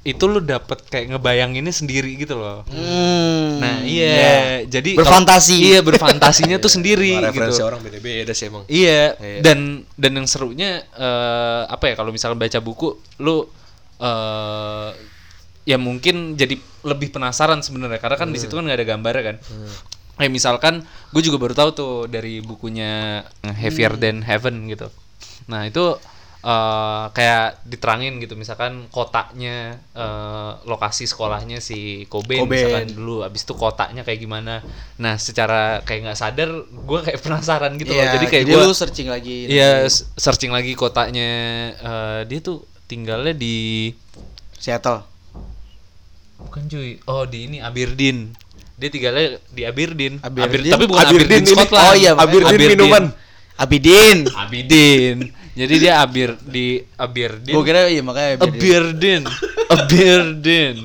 A: itu lu dapet kayak ngebayanginnya sendiri gitu loh.
C: Hmm.
A: Nah, iya. Jadi
C: Berfantasi.
A: kalau- Iya, berfantasinya tuh
B: *laughs*
A: sendiri
B: Wah,
A: gitu.
B: Referensi orang beda-beda sih emang.
A: Iya,
B: Iya.
A: dan dan yang serunya eh, apa ya kalau misalnya baca buku lu eh ya mungkin jadi lebih penasaran sebenarnya karena kan di situ kan nggak ada gambarnya kan. Kayak misalkan gue juga baru tahu tuh dari bukunya Heavier Than Heaven gitu. Nah, itu eh kayak diterangin gitu misalkan kotanya eh, lokasi sekolahnya si Kobe
C: Cobain.
A: misalkan dulu abis itu kotanya kayak gimana. Nah, secara kayak nggak sadar gue kayak *laughs* penasaran gitu
C: Iya,
A: loh. Jadi kayak
C: lu
A: gue
C: searching lagi.
A: Iya, s- searching lagi kotanya eh, dia tuh tinggalnya di
C: Seattle.
A: bukan cuy. Oh, di ini Abirdin. Dia tinggalnya di Abirdin.
C: Abirdeen?
A: Abir- tapi bukan Abirdin,
B: Abirdeen ini.
A: Scotland.
C: Oh iya, makanya.
B: Abirdeen minuman.
C: Abidin.
A: Abidin. Jadi dia Abir di Abirdin.
C: Gue kira iya makanya Abidin.
A: Abirdin. Abirdin.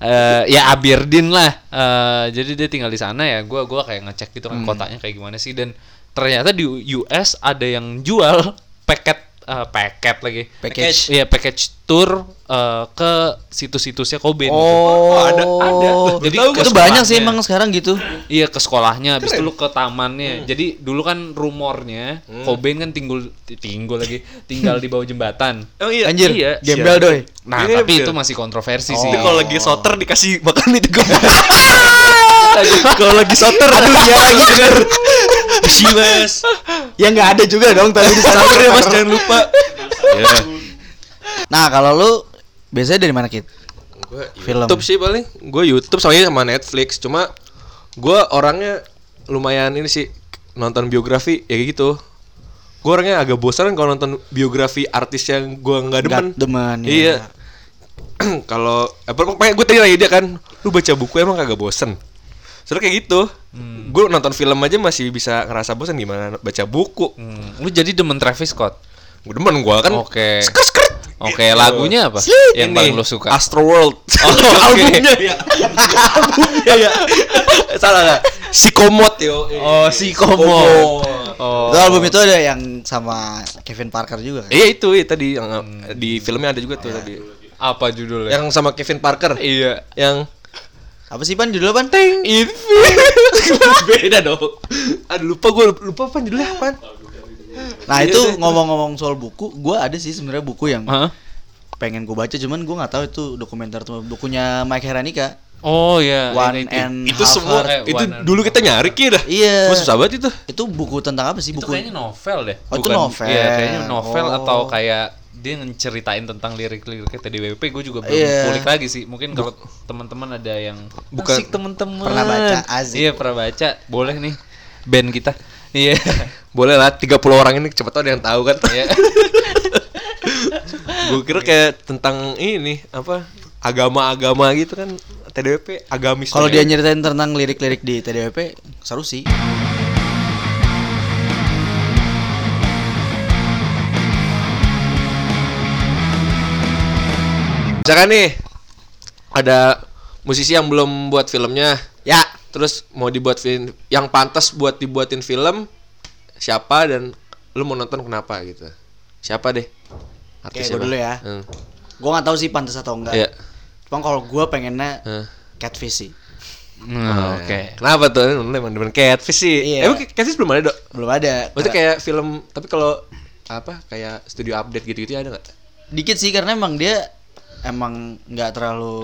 A: Eh, ya Abirdin lah. Eh, jadi dia tinggal di sana ya. Gua gua kayak ngecek gitu
C: Hmm.
A: kan kotanya kayak gimana sih dan ternyata di US ada yang jual paket eh, paket lagi.
C: Package.
A: Iya, package tour eh, ke situs-situsnya Kobe gitu.
C: Oh,
B: ada- ada.
A: Jadi
C: Jadi
A: ke
C: itu banyak sih
A: sekolahnya.
C: emang sekarang gitu.
A: Iya ke sekolahnya, habis itu lu ke
C: Hmm.
A: tamannya. Jadi dulu kan rumornya Cobain kan tinggul tinggul lagi, tinggal di bawah jembatan.
B: Oh iya.
C: Anjir,
A: iya.
C: gembel doi.
A: Nah,
B: Iya,
A: tapi
B: iya.
A: itu masih kontroversi
C: Oh.
A: sih.
B: Jadi kalau lagi soter dikasih makan itu *laughs* gue.
A: *laughs*
C: Kalau lagi soter aduh iya lagi denger.
B: Besi mas.
C: Ya nggak ada juga dong tapi di sana.
B: Soter ya mas jangan lupa. Iya.
C: *laughs* Nah, kalau lu biasanya dari mana, Kit?
B: Gue
C: Film.
B: YouTube sih paling. Gue YouTube soalnya sama Netflix. Cuma gue orangnya lumayan ini sih nonton biografi ya kayak gitu. Gue orangnya agak bosan kalau nonton biografi artis yang gue nggak demen.
C: Nggak demen, ya.
B: Iya. *clears throat* kalau eh, pokoknya gue tanya lagi dia kan, lu baca buku emang kagak bosen? Soalnya kayak gitu. Gue nonton film aja masih bisa ngerasa bosan gimana baca buku.
A: Hmm, Lu jadi demen Travis Scott.
B: Gue demen gue kan.
A: Oke.
B: skrt-skrt.
A: Oke,
B: Gitu.
A: lagunya apa?
B: Slit.
A: Yang
B: Ini,
A: paling lu suka?
B: Astroworld. *laughs*
A: Oh, oke.
B: Albumnya ya. Albumnya ya. Salah enggak? Sikomot yo.
A: Oh, Sikomot. Oh,
C: Itu album itu ada yang sama Kevin Parker juga kan?
B: Iya itu, iya, tadi yang eh, di filmnya ada juga tuh tadi.
A: Apa judulnya?
B: Iya, Yang sama Kevin Parker.
A: iya.
B: *laughs* Yang
C: Apa sih, Pan? Judulnya, Pan?
B: beda dong. Aduh lupa gue lupa apa judulnya apa.
C: Nah, itu ngomong-ngomong soal buku, gua ada sih sebenarnya buku yang
A: Hah?
C: pengen gue baca cuman gue nggak tahu itu dokumenter atau bukunya Mike Heranika
A: Oh iya. ini-
C: One and
B: Itu
C: Half
B: semua
C: Heart.
A: eh,
B: itu
A: Warner.
B: dulu kita nyari kira.
C: Iya.
B: Gua susah banget itu.
C: itu buku tentang apa sih
A: itu
C: buku
A: kayaknya novel deh.
C: Oh, itu novel.
A: Iya, kayaknya novel
C: Oh.
A: atau kayak dia ngeceritain tentang lirik-liriknya TDWP. Gue juga belum
C: Iya.
A: kulik lagi sih. Mungkin kalau teman-teman ada yang
B: Bukan-
A: asik teman-teman.
C: Pernah baca, asik.
A: Iya, pernah baca. Boleh nih band kita. Iya.
C: *laughs*
B: Boleh lah 30 orang ini cepat ada yang tahu kan. *laughs*
A: Iya.
B: gue kira
C: Iya.
B: kayak tentang ini apa agama-agama gitu kan TDP agamis
C: kalau
B: tuh
C: dia
B: ya.
C: nyeritain tentang lirik-lirik di TDWP seru sih
B: misalkan nih ada musisi yang belum buat filmnya
C: ya
B: terus mau dibuat film yang pantas buat dibuatin film siapa dan lu mau nonton kenapa gitu siapa deh
C: Oke, gua dulu ya.
B: Hmm.
C: gue nggak tahu sih pantas atau enggak
B: Iya.
C: cuma kalau gue pengennya
B: Hah.
C: catfish sih
A: Nah, oke.
B: kenapa tuh lu emang demen catfish sih
C: Iya.
B: emang catfish belum ada dok
C: belum ada
B: maksudnya
C: Karena-
B: kayak film tapi kalau apa kayak studio update gitu-gitu ada nggak
C: dikit sih karena emang dia emang nggak terlalu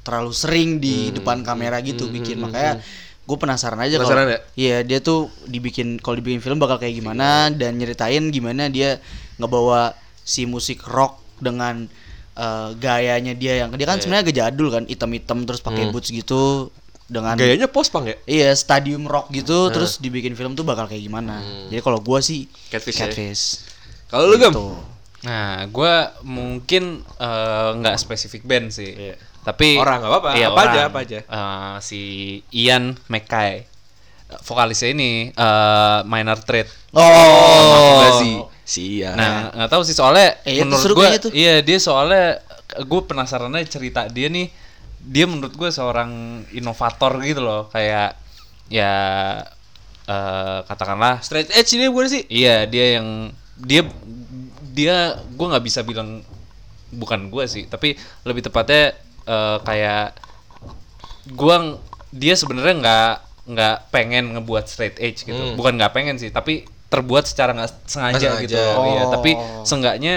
C: terlalu
B: Hmm.
C: sering di depan kamera gitu bikin makanya gue penasaran aja kalau
B: Penasaran ya?
C: iya dia tuh dibikin kalau dibikin film bakal kayak gimana dan nyeritain gimana dia ngebawa si musik rock dengan eh, gayanya dia yang dia
B: Iya,
C: kan sebenarnya agak jadul kan hitam-hitam terus pakai
B: Hmm.
C: boots gitu dengan
B: gayanya post pang ya
C: iya stadium rock gitu terus dibikin film tuh bakal kayak gimana jadi kalau gua sih
B: Hmm. Catfish ya?
C: catfish
B: kalau lu gem
C: Tuh.
A: Nah, gue mungkin eh, nggak spesifik band sih,
B: Iya.
A: tapi
B: Orang, nggak apa-apa.
A: Iya,
B: Apa aja,
A: orang.
B: apa aja.
A: Eh, si Ian McKay, eh, vokalisnya ini eh, Minor Threat.
C: oh
A: Gazi.
B: Sia.
A: Nah, nggak tahu sih soalnya
C: Eh, itu
A: menurut
C: seru
A: gue,
C: kayaknya tuh.
A: iya dia soalnya gue penasaran aja cerita dia nih. Dia menurut gue seorang inovator gitu loh, kayak ya eh, katakanlah
B: straight edge ini bukan sih?
A: Iya, dia yang dia dia gua nggak bisa bilang bukan gua sih tapi lebih tepatnya eh, kayak gua ng- dia sebenarnya nggak nggak pengen ngebuat straight edge gitu bukan nggak pengen sih tapi terbuat secara nggak sengaja,
B: Nggak
A: gitu
B: sengaja.
A: loh. Iya, tapi seenggaknya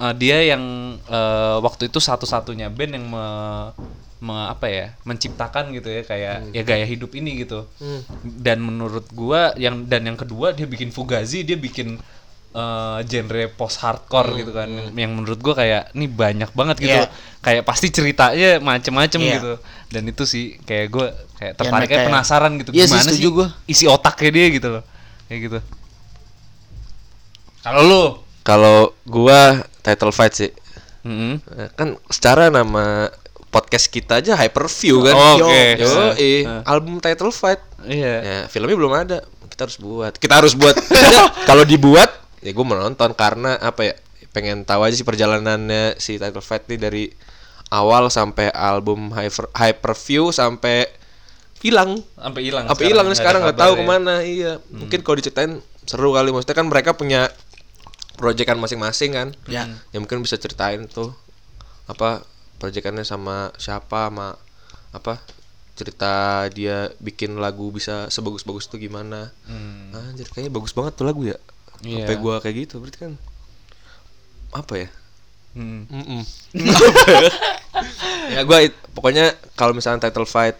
A: eh, dia yang eh, waktu itu satu-satunya band yang me, me- apa ya menciptakan gitu ya kayak ya gaya hidup ini gitu dan menurut gua yang dan yang kedua dia bikin fugazi dia bikin eh, genre post hardcore gitu kan yang menurut gua kayak ini banyak banget gitu
C: Iya.
A: kayak pasti ceritanya macem-macem
C: Iya.
A: gitu dan itu sih kayak gua kayak
C: Ya,
A: tertarik
C: kayak-
A: kayak penasaran gitu
C: Iya sih, setuju gua.
A: isi otaknya dia gitu loh kayak gitu kalau lu
B: Kalau gua title fight sih.
A: Mm-mm.
B: Eh, Kan secara nama podcast kita aja Hyperview kan.
A: Oh, oke.
B: Yo, yoi. album title fight.
A: iya
B: Ya, filmnya belum ada. Kita harus buat. Kita harus buat.
A: *laughs*
B: Ya, Kalau dibuat, ya gue menonton karena apa ya? Pengen tahu aja sih perjalanannya si Title Fight nih dari awal sampai album Hyper Hyperview sampai hilang.
A: sampai hilang
B: Apa hilang nih sekarang nggak tahu
A: kabar ya. Hmm.
B: kemana? Iya, mungkin kalau diceritain seru kali. Maksudnya kan mereka punya proyekan masing-masing kan.
C: Ya.
B: Ya mungkin bisa ceritain tuh apa proyekannya sama siapa sama apa cerita dia bikin lagu bisa sebagus-bagus tuh gimana.
A: Hmm.
B: Anjir kayaknya bagus banget tuh lagu ya.
A: Iya.
B: Sampai gua kayak gitu berarti kan apa ya?
A: Hmm.
B: Mm-mm. ya gua it- pokoknya kalau misalnya title fight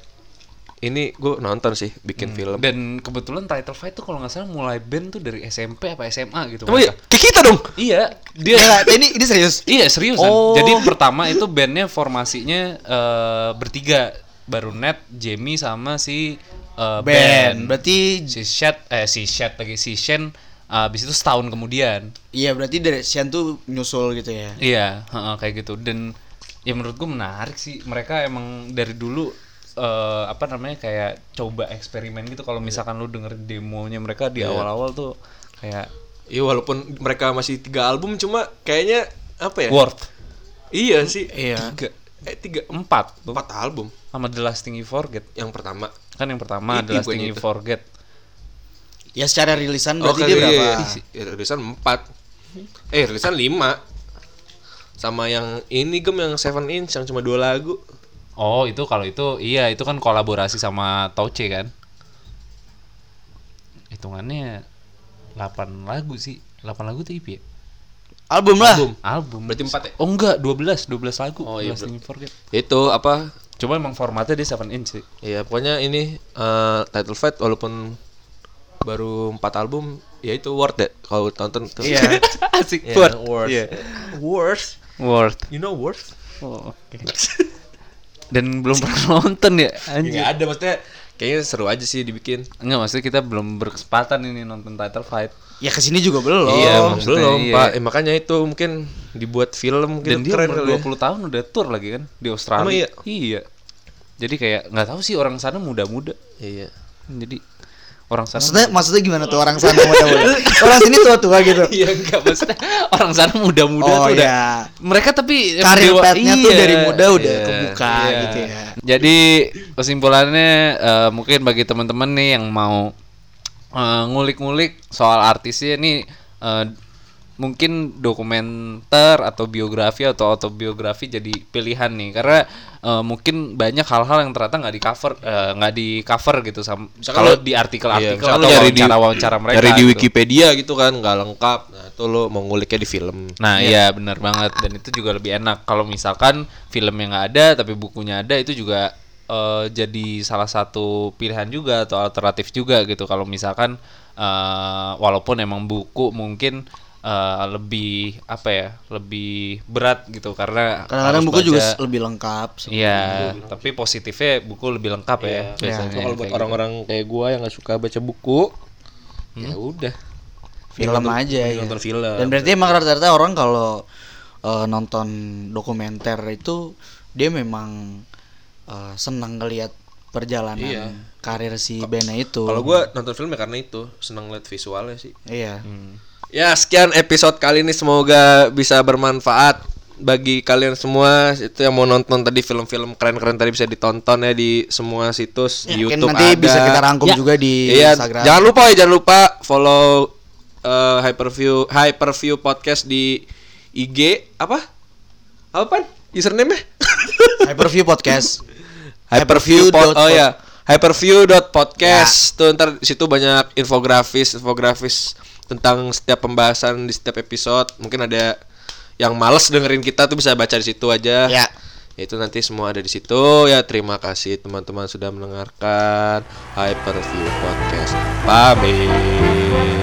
B: ini gue nonton sih bikin film.
A: dan kebetulan title fight tuh kalau nggak salah mulai band tuh dari SMP apa SMA gitu
B: Tapi
A: mereka.
B: kayak kita dong.
A: iya dia
C: Iya, *laughs* ini ini serius.
A: Iya seriusan.
C: Oh.
A: Jadi pertama itu bandnya formasinya eh, bertiga, baru Net, Jamie sama si eh,
C: Ben,
A: Ben.
C: berarti
A: Si Shed, eh si Shed lagi si Shen. eh, Abis itu setahun kemudian.
C: iya berarti dari Sian tuh nyusul gitu ya.
A: Iya heeh, kayak gitu. Dan ya menurut gue menarik sih. Mereka emang dari dulu eh, apa namanya kayak coba eksperimen gitu. Kalau misalkan lu denger demonya mereka di awal-awal tuh kayak
B: Iya walaupun mereka masih tiga album cuma kayaknya apa ya?
A: worth
B: Iya sih.
C: Iya.
B: Tiga, eh tiga
A: empat
B: empat album
A: sama The Lasting You Forget.
B: yang pertama.
A: Kan yang pertama The
B: Mimpi gua
A: Lasting
B: yang
A: You
B: itu.
A: Forget.
C: Ya secara rilisan berarti
B: kan
C: dia
B: iya,
C: berapa?
B: iya. Iya, rilisan empat. Eh rilisan lima. Sama yang ini gem yang Seven Inch yang cuma dua lagu.
A: Oh itu kalau itu iya itu kan kolaborasi sama Tauce kan hitungannya 8 lagu sih 8 lagu tuh IP ya?
C: Album lah.
A: album
B: Berarti empat ya?
A: oh enggak 12 12 lagu
B: Oh, iya,
A: 12 Thing You forget
B: Itu apa?
A: cuma emang formatnya dia 7 inch sih
B: Iya pokoknya ini eh, title fight walaupun baru empat album ya itu worth it kalau tonton tuh. *laughs*
C: Iya.
A: *laughs* asik
B: Iya,
A: worth
B: worth.
A: Iya.
B: Worth.
A: worth
B: You know worth?
A: oh, oke dan belum pernah *laughs* nonton ya anjir
B: Enggak ada maksudnya kayaknya seru aja sih dibikin.
A: enggak maksudnya kita belum berkesempatan ini nonton title fight
C: Ya kesini juga belum.
B: iya, emang
A: maksudnya
B: belum,
A: iya.
B: Pak. Eh, makanya itu mungkin dibuat film
A: Dan
B: mungkin
A: dia
B: keren
A: umur
B: kali ya.
A: 20 tahun udah tour lagi kan di Australia.
B: Emang iya?
A: Jadi kayak nggak tahu sih orang sana muda-muda.
B: Iya.
A: Jadi orang sana
C: Maksudnya maksudnya gimana tuh orang sana mau tahu? *laughs* Orang sini tua-tua gitu.
A: Iya enggak maksudnya orang sana muda-muda
C: Oh
A: tuh udah.
C: ya.
A: Mereka tapi
C: Karir
A: dewa-
C: petnya tuh
A: iya.
C: dari muda udah
B: iya,
C: kebuka
A: Iya.
C: gitu ya.
A: Jadi kesimpulannya eh, mungkin bagi teman-teman nih yang mau eh, ngulik-ngulik soal artisnya nih eh, mungkin dokumenter atau biografi atau autobiografi jadi pilihan nih karena eh, mungkin banyak hal-hal yang ternyata nggak di cover eh, nggak di cover gitu sama kalau di
B: Iya,
A: artikel-artikel
B: misalkan
A: atau
B: lu nyari di-
A: wawancara-wawancara mereka
B: Dari di
A: gitu.
B: Wikipedia gitu kan nggak lengkap. Nah, itu lo mau nguliknya di film.
A: Nah, iya benar banget dan itu juga lebih enak kalau misalkan filmnya nggak ada tapi bukunya ada itu juga eh, jadi salah satu pilihan juga atau alternatif juga gitu kalau misalkan eh, walaupun emang buku mungkin eh, lebih apa ya lebih berat gitu karena
C: Kadang-kadang
A: harus
C: buku juga
A: baca-
C: lebih lengkap.
A: Iya, tapi positifnya buku lebih lengkap ya biasanya.
B: Iya. Kalau buat
A: kayak
B: orang-orang kayak gua yang nggak suka baca buku, ya udah.
C: Film aja
A: Iya.
C: ya.
B: Nonton film.
C: Dan berarti emang rata-rata orang kalau eh, nonton dokumenter itu dia memang eh, senang ngelihat perjalanan karir si bandnya itu.
B: Kalau gua nonton film ya karena itu seneng liat visualnya sih.
C: iya.
B: Ya sekian episode kali ini semoga bisa bermanfaat bagi kalian semua itu yang mau nonton tadi film-film keren-keren tadi bisa ditonton ya di semua situs di
C: Mungkin
B: YouTube
C: nanti
B: ada.
C: bisa kita rangkum juga di
B: Iya,
C: Instagram.
B: jangan lupa ya jangan lupa follow eh, Hyperview Hyperview podcast di IG apa? Apaan? Username-nya? *laughs*
C: Hyperview podcast.
B: Hyperview.
C: Hyperview
B: pod-
C: dot-
B: oh ya, hyperview.podcast. Tuh ntar di situ banyak infografis, infografis tentang setiap pembahasan di setiap episode. Mungkin ada yang males dengerin kita tuh bisa baca di situ aja.
C: Ya.
B: Itu nanti semua ada di situ. Ya, terima kasih teman-teman sudah mendengarkan Hyperview Podcast. Pamit.